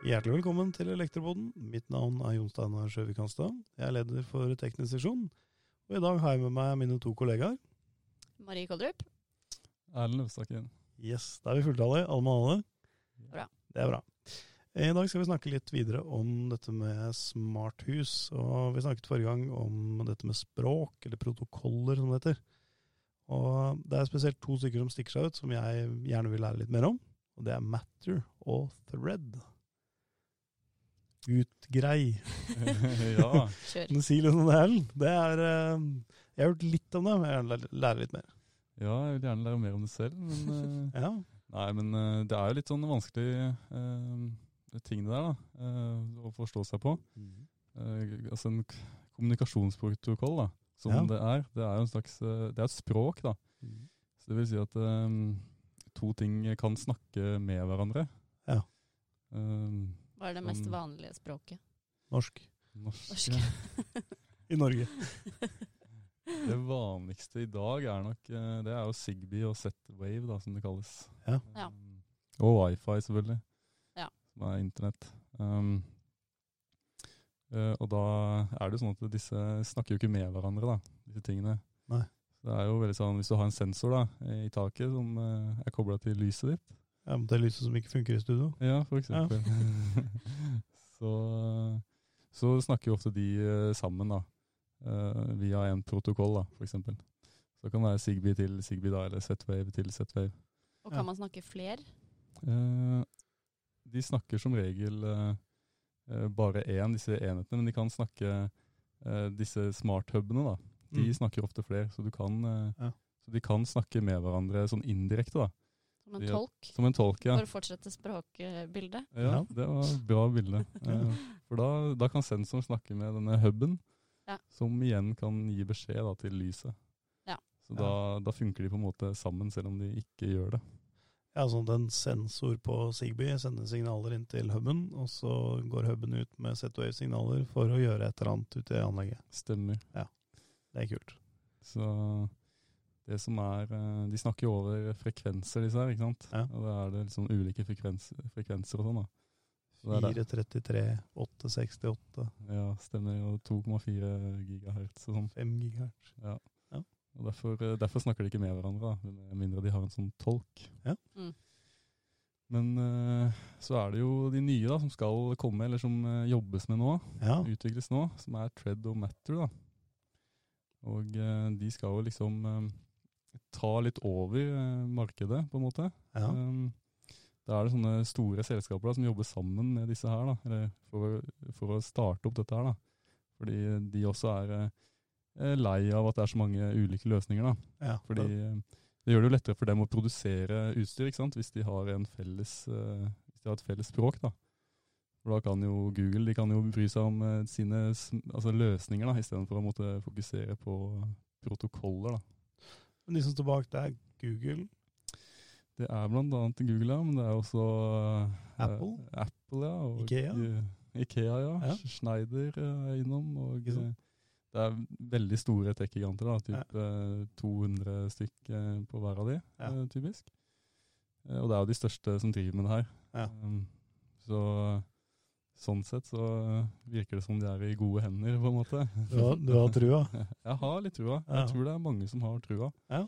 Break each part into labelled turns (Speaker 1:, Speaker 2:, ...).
Speaker 1: Hjertelig velkommen til Elektroboden. Mitt navn er Jon Steinar Sjøvik Hanstad. Jeg er leder for teknisk seksjon, og i dag har jeg med meg mine to kollegaer.
Speaker 2: Marie Koldrup.
Speaker 3: Erlend Løvstakken.
Speaker 1: Yes, da er vi fulltallige, alle mann alle.
Speaker 2: Bra.
Speaker 1: Det er bra. Eh, I dag skal vi snakke litt videre om dette med smarthus. Og vi snakket forrige gang om dette med språk, eller protokoller, som det heter. Og det er spesielt to stykker som stikker seg ut, som jeg gjerne vil lære litt mer om. Og det er Matter og Thread. Utgrei.
Speaker 3: ja.
Speaker 2: Kjør.
Speaker 1: Men si litt om det, Erlend. Det er eh, Jeg har hørt litt om det, men jeg vil lære- lære litt mer.
Speaker 3: ja, jeg vil gjerne lære mer om det selv. Men, eh,
Speaker 1: Ja,
Speaker 3: nei, men eh, det er jo litt sånn vanskelig eh, ting det der, da. eh, å forstå seg på. Eh, altså en k- kommunikasjonsprotokoll, da, som
Speaker 1: Ja.
Speaker 3: det er. Det er jo en slags eh, Det er et språk, da. Så det vil si at eh, to ting kan snakke med hverandre.
Speaker 1: Ja.
Speaker 3: Eh,
Speaker 2: Hva er det
Speaker 3: Sånn.
Speaker 2: mest vanlige språket?
Speaker 1: Norsk.
Speaker 3: norsk.
Speaker 2: Norsk.
Speaker 1: I Norge.
Speaker 3: Det vanligste i dag er nok eh, Det er jo Zigbee og Z-Wave, da, som det kalles.
Speaker 1: Ja.
Speaker 2: Ja.
Speaker 3: Um, Og wifi, selvfølgelig.
Speaker 2: Ja.
Speaker 3: Som er internett. Um, eh, og da er det jo sånn at disse snakker jo ikke med hverandre, da, disse tingene.
Speaker 1: Nei.
Speaker 3: Så Det er jo veldig sånn, Hvis du har en sensor da, i taket som eh, er kobla til lyset ditt,
Speaker 1: Ja, men det er lyset som ikke funker i studio.
Speaker 3: ja, for eksempel, så, så snakker jo ofte de eh, sammen da, eh, via en protokoll, da, for eksempel. Så det kan være Zigbee til Zigbee da, eller Z-Wave til Z-Wave.
Speaker 2: Og kan man snakke fler?
Speaker 3: Eh, de snakker som regel eh, eh, bare én, disse enhetene, men de kan snakke eh, disse smart-hubene. da. De
Speaker 1: Mm.
Speaker 3: snakker ofte flere, så, du kan, eh,
Speaker 1: Ja.
Speaker 3: så de kan snakke med hverandre sånn indirekte, da,
Speaker 2: Som en
Speaker 3: Ja.
Speaker 2: tolk?
Speaker 3: som en tolk. ja.
Speaker 2: For å fortsette språkbildet?
Speaker 3: Ja, det var et bra bilde. Eh, For da, da kan sensoren snakke med denne huben,
Speaker 2: Ja.
Speaker 3: som igjen kan gi beskjed da, til lyset.
Speaker 2: Ja.
Speaker 3: Så da, da funker de på en måte sammen, selv om de ikke gjør det.
Speaker 1: Ja, sånn at en sensor på Zigbee sender signaler inn til huben, og så går huben ut med Z-Wave-signaler for å gjøre et eller annet ute i anlegget.
Speaker 3: Stemmer.
Speaker 1: Det er kult.
Speaker 3: Så det som er eh, De snakker jo over frekvenser, disse her. ikke sant?
Speaker 1: Ja.
Speaker 3: Og da er det liksom ulike frekvens, frekvenser og sånn, da. Så det er
Speaker 1: 433,
Speaker 3: det.
Speaker 1: 868,
Speaker 3: Ja, stemmer. Og 2,4 gigahertz og sånn.
Speaker 1: 5 gigahertz.
Speaker 3: Ja.
Speaker 1: Ja.
Speaker 3: Og derfor, eh, derfor snakker de ikke med hverandre, da, med mindre de har en sånn tolk.
Speaker 1: Ja.
Speaker 2: Mm.
Speaker 3: Men eh, så er det jo de nye da, som skal komme, eller som eh, jobbes med nå,
Speaker 1: Ja,
Speaker 3: utvikles nå, som er Tread og Matter. da. Og eh, de skal jo liksom eh, ta litt over eh, markedet, på en måte.
Speaker 1: ja.
Speaker 3: Um, da er det sånne store selskaper da, som jobber sammen med disse her, da, eller for, å- for å starte opp dette her. Da. Fordi de også er eh, lei av at det er så mange ulike løsninger. Da.
Speaker 1: ja.
Speaker 3: Fordi eh, det gjør det jo lettere for dem å produsere utstyr ikke sant? hvis de har, en felles, eh, hvis de har et felles språk. Da. For da kan jo Google de kan jo bry seg om eh, sine sm- altså løsninger, da, istedenfor å måtte fokusere på protokoller. Da.
Speaker 1: Men de som står bak, det er Google.
Speaker 3: Det er blant annet Google, ja, men det er også eh,
Speaker 1: Apple?
Speaker 3: eh, Apple, ja. Og
Speaker 1: Ikea?
Speaker 3: Gu- Ikea, ja.
Speaker 1: Ja.
Speaker 3: Schneider eh, er innom. Og
Speaker 1: Ikke sant?
Speaker 3: eh, det er veldig store tech-giganter, da.
Speaker 1: Ja.
Speaker 3: Typ eh, 200 stykk eh, på hver av de,
Speaker 1: Ja.
Speaker 3: eh, typisk. Eh, Og det er jo de største som driver med det her.
Speaker 1: Ja.
Speaker 3: Um, Så sånn sett så virker det som de er i gode hender, på en måte.
Speaker 1: Du har, du har trua.
Speaker 3: Jeg har litt trua.
Speaker 1: Ja.
Speaker 3: Jeg tror det er mange som har trua.
Speaker 1: Ja.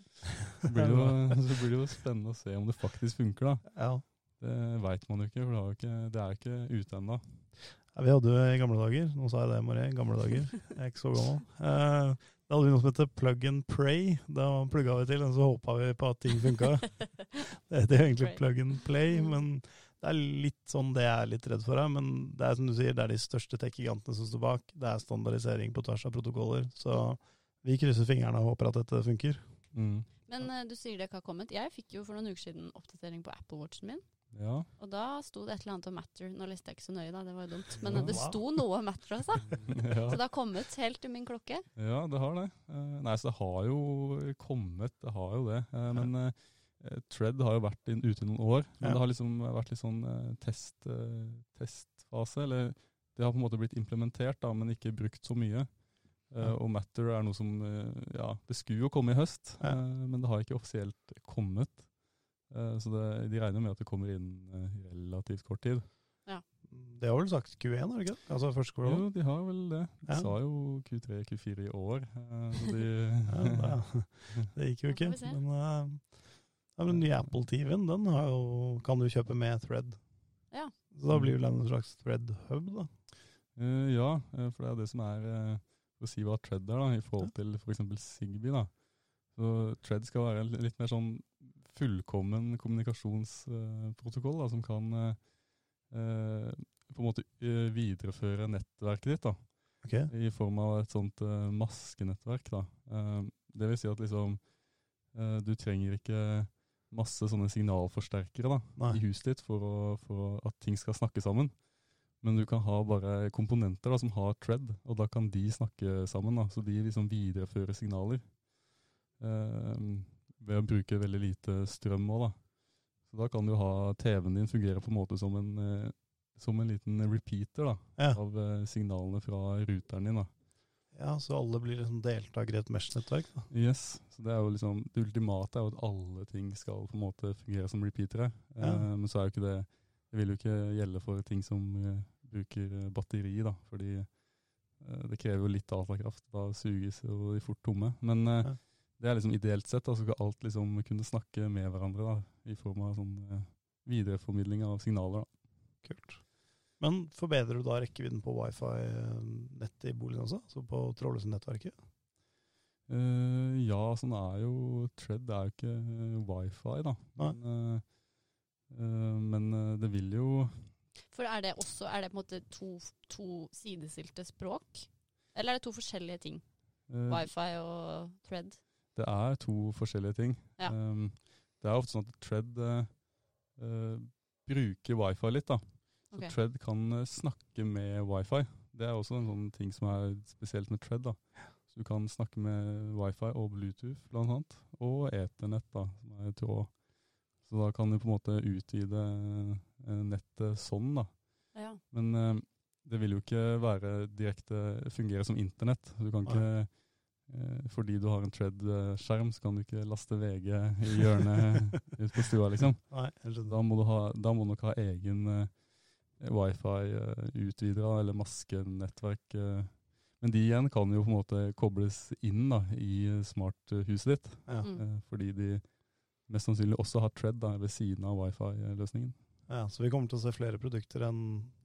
Speaker 3: Så, blir det jo, så blir det jo spennende å se om det faktisk funker, da.
Speaker 1: Ja.
Speaker 3: Det veit man jo ikke, for det, har jo ikke, det er jo ikke ute ennå.
Speaker 1: Ja, vi hadde jo i gamle dager, nå sa jeg det, Marie, i gamle dager, jeg er ikke så gammel. Eh, da hadde vi noe som heter plug and pray. Da plugga vi til, og så håpa vi på at ting funka. Det heter jo egentlig
Speaker 2: Pray.
Speaker 1: plug and play, men det er litt sånn det jeg er litt redd for her. Men det er som du sier, det er de største tech-gigantene som står bak. Det er standardisering på tvers av protokoller. Så vi krysser fingrene og håper at dette funker. Mm.
Speaker 2: Men eh, du sier det ikke har kommet. Jeg fikk jo for noen uker siden oppdatering på Apple Watchen min.
Speaker 3: Ja.
Speaker 2: Og da sto det et eller annet om Matter. Nå leste jeg ikke så nøye, da. Det var jo dumt. Men eh, det
Speaker 1: Wow.
Speaker 2: sto noe om Matter, altså.
Speaker 3: ja.
Speaker 2: Så det har kommet helt til min klokke.
Speaker 3: ja, det har det. Eh, Nei, så det har jo kommet, det har jo det. Eh, Men eh, Tread har jo vært inn, ute i noen år. Men
Speaker 1: Ja.
Speaker 3: det har liksom vært litt sånn eh, test, eh, testfase. Eller det har på en måte blitt implementert, da, men ikke brukt så mye. Eh,
Speaker 1: Ja.
Speaker 3: Og Matter er noe som eh, Ja, det skulle jo komme i høst,
Speaker 1: Ja.
Speaker 3: eh, men det har ikke offisielt kommet. Eh, Så det, de regner med at det kommer inn eh, i relativt kort tid.
Speaker 1: Det har vel sagt Q1, har det ikke det? Altså første kvartal?
Speaker 3: Jo, de har vel det. De
Speaker 1: Ja.
Speaker 3: sa jo Q3, Q4 i år. eh, Så de,
Speaker 1: Ja, det, det gikk jo
Speaker 2: Da får
Speaker 1: ikke.
Speaker 2: vi se.
Speaker 1: Men, eh, ja, men den nye Apple TV-en den har jo, kan du kjøpe med Thread.
Speaker 2: Ja.
Speaker 1: Så da blir det en slags Thread Hub, da.
Speaker 3: Eh, ja, eh, for det er det som er eh, å si hva Tread er, da, i forhold til f.eks. Zigbee. da. Så Tread skal være en litt mer sånn fullkommen kommunikasjonsprotokoll da, som kan eh, eh, på en måte eh, videreføre nettverket ditt. da.
Speaker 1: Ok,
Speaker 3: I form av et sånt eh, maskenettverk. Da. Eh, det vil si at liksom, eh, du trenger ikke masse sånne signalforsterkere da,
Speaker 1: Nei.
Speaker 3: i huset ditt for, å, for at ting skal snakke sammen. Men du kan ha bare komponenter da, som har thread, og da kan de snakke sammen. Da. Så de liksom viderefører signaler eh, ved å bruke veldig lite strøm òg, da. Så da kan du ha TV-en din fungere på en måte som en, eh, som en liten repeater. da
Speaker 1: Ja.
Speaker 3: av eh, signalene fra ruteren din. da.
Speaker 1: ja, så alle blir liksom deltakere i et mesh-nettverk. da.
Speaker 3: Yes, så Det er jo liksom, det ultimate er jo at alle ting skal på en måte fungere som repeatere. Eh,
Speaker 1: Ja.
Speaker 3: men så er jo ikke det Det vil jo ikke gjelde for ting som eh, bruker eh, batteri, da. Fordi eh, det krever jo litt datakraft. Da suges jo de fort tomme. Men eh,
Speaker 1: Ja.
Speaker 3: det er liksom ideelt sett. da, Så skal alt liksom kunne snakke med hverandre da, i form av sånn eh, videreformidling av signaler. da.
Speaker 1: Kult. Men forbedrer du da rekkevidden på wifi-nettet i boligen også? Altså på trådløse nettverket?
Speaker 3: Eh, ja, sånn er jo Tread er jo ikke eh, wifi, da.
Speaker 1: Nei.
Speaker 3: Men, eh, eh, men eh, det vil jo
Speaker 2: For er det også er det på en måte to, to sidestilte språk? Eller er det to forskjellige ting?
Speaker 3: eh,
Speaker 2: Wifi og thread?
Speaker 3: Det er to forskjellige ting.
Speaker 2: Ja.
Speaker 3: Eh, det er ofte sånn at Tread eh, eh, bruker wifi litt, da. Så
Speaker 2: Ok.
Speaker 3: Tread kan eh, snakke med wifi. Det er også en sånn ting som er spesielt med Tread. da. Så du kan snakke med wifi og Bluetooth blant annet, og Ethernet, da, som er tråd. Så da kan du på en måte utvide eh, nettet sånn, da.
Speaker 2: Ja.
Speaker 3: Men eh, det vil jo ikke være direkte fungere som internett. Du kan ikke eh, fordi du har en Tread-skjerm, så kan du ikke laste VG i hjørnet ute på stua, liksom.
Speaker 1: Nei, jeg skjønner.
Speaker 3: Da må du, ha, da må du nok ha egen eh, wifi-utvider eller maskenettverk. eh. Men de igjen kan jo på en måte kobles inn da, i smarthuset ditt,
Speaker 1: Ja.
Speaker 2: Mm.
Speaker 3: eh, fordi de mest sannsynlig også har Tread da, ved siden av wifi-løsningen.
Speaker 1: ja, så vi kommer til å se flere produkter enn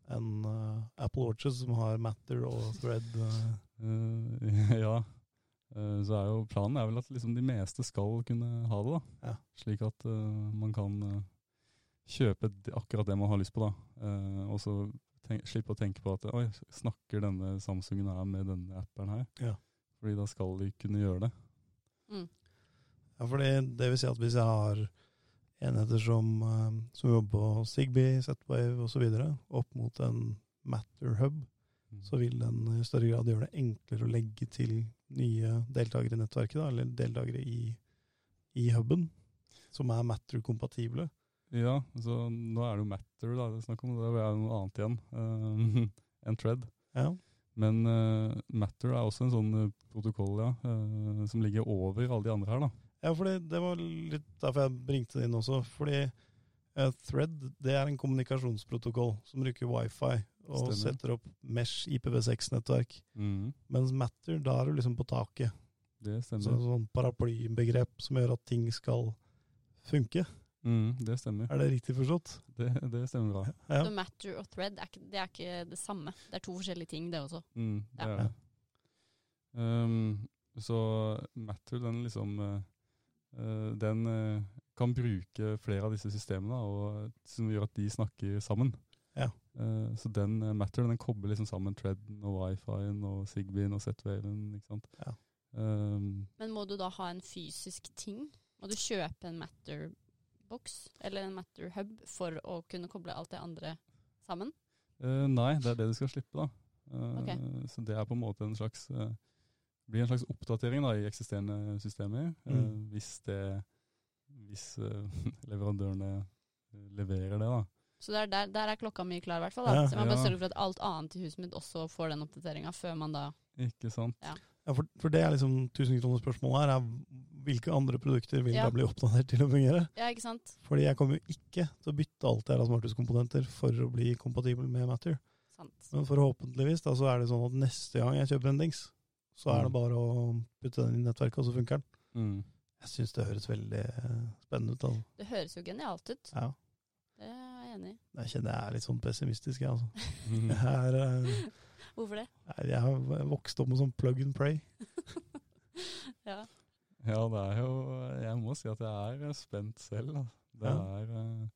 Speaker 1: enn, eh, Apple Watches som har Matter og Thread. eh.
Speaker 3: Eh, ja. Eh, så er jo planen er vel at liksom de meste skal kunne ha det, da.
Speaker 1: Ja.
Speaker 3: Slik at eh, man kan eh, kjøpe d- akkurat det man har lyst på, da. Eh, og så tenk, slippe å tenke på at oi, snakker denne Samsungen her med denne appen her?
Speaker 1: Ja.
Speaker 3: Fordi da skal de kunne gjøre det.
Speaker 2: Mm.
Speaker 1: Ja, fordi det vil si at hvis jeg har enheter som, eh, som jobber på Zigbee, Z-Wave osv., opp mot en Matter-hub, så vil den i større grad gjøre det enklere å legge til nye deltakere i nettverket, da, eller deltakere i, i huben, som er Matter-kompatible.
Speaker 3: Ja, så nå er det jo Matter da, det er snakk om, det er jo noe annet igjen eh, enn Tread.
Speaker 1: Ja.
Speaker 3: Men eh, Matter er også en sånn eh, protokoll, ja, eh, som ligger over alle de andre her, da.
Speaker 1: Ja, for det, det var litt derfor jeg bringte det inn også. Fordi eh, Thread det er en kommunikasjonsprotokoll som bruker wifi og
Speaker 3: Stemmer.
Speaker 1: setter opp Mesh IPv6-nettverk. Mens Matter, da er du liksom på taket.
Speaker 3: Det
Speaker 1: Så et
Speaker 3: stemmer.
Speaker 1: sånn paraplybegrep som gjør at ting skal funke.
Speaker 3: Mm, det stemmer.
Speaker 1: Er det riktig forstått?
Speaker 3: Det, det stemmer bra.
Speaker 1: Ja.
Speaker 2: Så matter og thread er ikke, det er ikke det samme. Det er to forskjellige ting, det også.
Speaker 3: Mm, det
Speaker 2: Ja.
Speaker 3: er det. Um, så Matter, den liksom eh, eh, Den eh, kan bruke flere av disse systemene da, og, eh, som gjør at de snakker sammen.
Speaker 1: Ja.
Speaker 3: Eh, så den eh, Matter den kobler liksom sammen Treaden og Wi-Fi-en og Zigbee-en og Z-Waven. ikke sant?
Speaker 1: Ja.
Speaker 3: Um,
Speaker 2: Men må du da ha en fysisk ting? Må du kjøpe en Matter-boks eller en Matter-hub for å kunne koble alt det andre sammen?
Speaker 3: Eh, nei, det er det du skal slippe, da. Eh,
Speaker 2: Ok.
Speaker 3: Så det er på en måte en slags eh, blir en slags oppdatering da, i eksisterende systemer. eh,
Speaker 1: Mm.
Speaker 3: hvis det hvis eh, leverandørene eh, leverer det, da.
Speaker 2: Så der, der, der er klokka mi klar, i hvert fall. Da.
Speaker 1: Ja,
Speaker 2: så man bare
Speaker 3: ja.
Speaker 2: sørger for at alt annet i huset mitt også får den oppdateringa før man da
Speaker 3: Ikke sant?
Speaker 1: Ja, for, for det er liksom tusenkronersspørsmålet her. er hvilke andre produkter vil
Speaker 2: Ja.
Speaker 1: da bli oppdatert til å fungere?
Speaker 2: Ja, ikke sant?
Speaker 1: Fordi jeg kommer jo ikke til å bytte alt jeg har av smarthuskomponenter for å bli kompatibel med Matter.
Speaker 2: Sant.
Speaker 1: Men forhåpentligvis da, så er det sånn at neste gang jeg kjøper en dings, så er det
Speaker 3: Mm.
Speaker 1: bare å putte den i nettverket, og så funker den.
Speaker 3: Mm.
Speaker 1: Jeg syns det høres veldig eh, spennende ut. Altså.
Speaker 2: Det høres jo genialt ut.
Speaker 1: Ja.
Speaker 2: Det er jeg enig i.
Speaker 1: Jeg kjenner jeg er litt sånn pessimistisk, jeg, altså.
Speaker 3: Mm.
Speaker 1: Jeg, er, eh,
Speaker 2: Hvorfor det?
Speaker 1: nei, jeg har vokst opp med sånn plug and pray.
Speaker 2: Ja.
Speaker 3: Ja, det er jo Jeg må si at jeg er eh, spent selv. Da. Det
Speaker 1: Ja.
Speaker 3: er eh,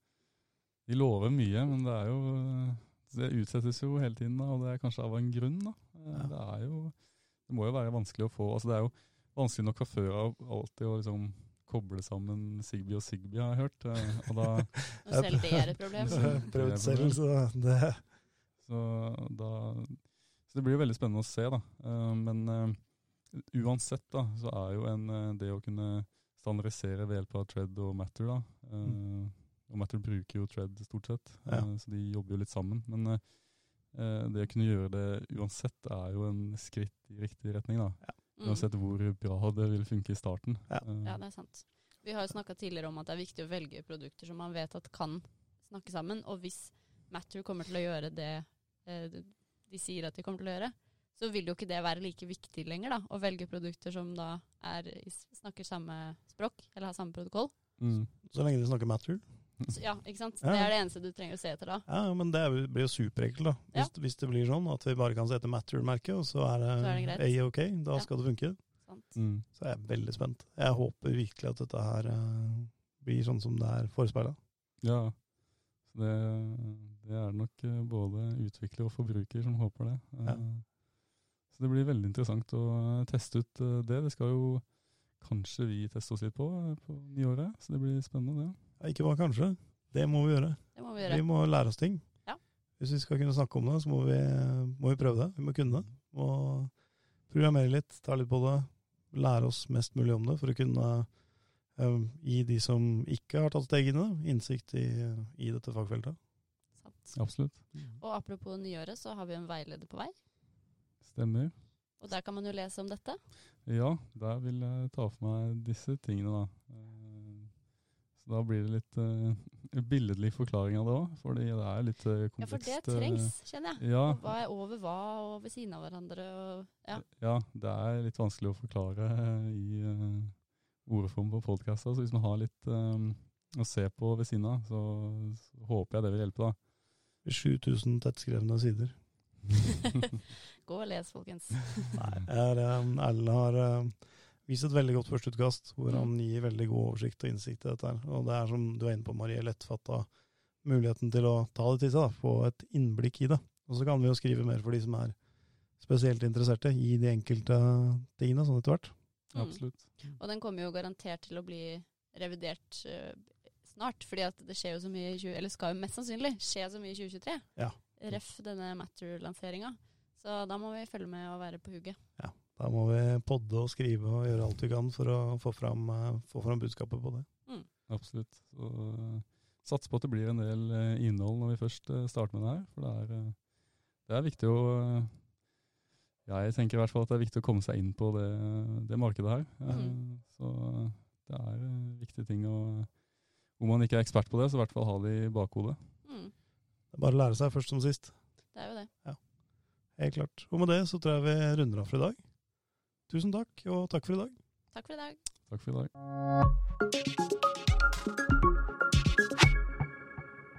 Speaker 3: De lover mye, men det er jo eh, Det utsettes jo hele tiden, da, og det er kanskje av en grunn. Da. Eh,
Speaker 1: Ja.
Speaker 3: Det er jo Det må jo være vanskelig å få Altså, det er jo vanskelig nok fra før av alltid å liksom koble sammen Sigby og Sigby, har jeg hørt. eh, Og da,
Speaker 2: Når selv det er et problem. Mm.
Speaker 1: Prøvd selv, så det
Speaker 3: så da Så det blir jo veldig spennende å se, da. Eh, Men eh, uansett, da, så er jo en eh, Det å kunne standardisere ved hjelp av Tred og Matter, da. eh, Og Matter bruker jo Tred stort sett, eh,
Speaker 1: Mm. Ja.
Speaker 3: så de jobber jo litt sammen. Men eh, eh, det å kunne gjøre det uansett er jo en skritt i riktig retning, da.
Speaker 2: Mm.
Speaker 3: Uansett hvor bra det vil funke i starten.
Speaker 1: Ja.
Speaker 3: Eh,
Speaker 2: Ja, det er sant. Vi har jo snakka tidligere om at det er viktig å velge produkter som man vet at kan snakke sammen. Og hvis Matter kommer til å gjøre det eh, de sier at de kommer til å gjøre, så vil jo ikke det være like viktig lenger, da. Å velge produkter som da er, i s- snakker samme språk, eller har samme protokoll.
Speaker 3: mm.
Speaker 1: Så lenge de snakker Matter.
Speaker 2: Så, ja, ikke sant?
Speaker 1: Ja.
Speaker 2: Det er det eneste du trenger å se etter da.
Speaker 1: Ja, ja, men det er jo- blir jo superekkelt, da. Hvis, hvis det blir sånn at vi bare kan sette Matter-merket, og så er det,
Speaker 2: Så er det greit.
Speaker 1: A-OK, da
Speaker 2: Ja.
Speaker 1: skal det funke.
Speaker 2: Sant?
Speaker 3: Mm.
Speaker 1: Så jeg er veldig spent. Jeg håper virkelig at dette her eh, blir sånn som det er forespeila.
Speaker 3: Ja. Så det, det er nok eh, både utvikler og forbruker som håper det. Eh,
Speaker 1: Ja.
Speaker 3: Så det blir veldig interessant å eh, teste ut eh, det. Det skal jo kanskje vi teste oss litt på eh, på nyåret, så det blir spennende det.
Speaker 1: Ja, ikke bare kanskje. Det må vi gjøre.
Speaker 2: Det må vi
Speaker 1: Vi
Speaker 2: gjøre.
Speaker 1: må lære oss ting.
Speaker 2: Ja.
Speaker 1: Hvis vi skal kunne snakke om det, så må vi, må vi prøve det. Vi må kunne det. Må programmere litt, ta litt på det. Lære oss mest mulig om det for å kunne eh, gi de som ikke har tatt steget inn, i det, innsikt i, i dette fagfeltet.
Speaker 2: Sant.
Speaker 3: Absolutt.
Speaker 2: Og apropos nyåret, så har vi en veileder på vei.
Speaker 3: Stemmer.
Speaker 2: Og der kan man jo lese om dette.
Speaker 3: Ja, der vil jeg ta for meg disse tingene, da. Eh, Så da blir det litt eh, billedlig forklaring av det òg, fordi det er litt eh,
Speaker 2: Ja, for
Speaker 3: komplekst.
Speaker 2: det
Speaker 3: eh,
Speaker 2: trengs, kjenner jeg.
Speaker 3: Ja,
Speaker 2: Hva er over hva, og ved siden av hverandre, og ja.
Speaker 3: Ja, det er litt vanskelig å forklare eh, i eh, ordform på podkasta. Så hvis man har litt eh, å se på ved siden av, så, så håper jeg det vil hjelpe, da.
Speaker 1: 7000 tettskrevne sider.
Speaker 2: Gå og les, folkens.
Speaker 1: Nei, er, um, Erlend har um, vist et veldig godt førsteutkast, hvor han gir veldig god oversikt og innsikt i dette. her. Og det er som du er inne på, Marie, lettfatta muligheten til å ta det til seg, da, få et innblikk i det. Og så kan vi jo skrive mer for de som er spesielt interesserte i de enkelte tingene, sånn etter hvert.
Speaker 2: Mm.
Speaker 3: Absolutt.
Speaker 2: Og den kommer jo garantert til å bli revidert eh, snart, fordi at det skjer jo så mye i 20, eller skal jo mest sannsynlig skje så mye i 2023.
Speaker 1: Ja.
Speaker 2: Ref denne Matter-lanseringa. Så da må vi følge med og være på hugget.
Speaker 1: Da må vi podde og skrive og gjøre alt vi kan for å få fram, eh, få fram budskapet på det.
Speaker 3: Absolutt. Så eh, sats på at det blir en del eh, innhold når vi først eh, starter med det her, for det er, eh, det er viktig å eh, Jeg tenker i hvert fall at det er viktig å komme seg inn på det, det markedet her. Eh,
Speaker 2: Mm.
Speaker 3: Så eh, det er eh, viktige ting å Om man ikke er ekspert på det, så i hvert fall ha det i bakhodet.
Speaker 2: Mm,
Speaker 1: Det er bare å lære seg først som sist.
Speaker 2: det er jo det.
Speaker 1: Helt klart. Og med det så tror jeg vi runder av for i dag. Tusen takk, og takk for i dag.
Speaker 2: Takk for i dag.
Speaker 3: Takk for i dag.
Speaker 2: Thank you.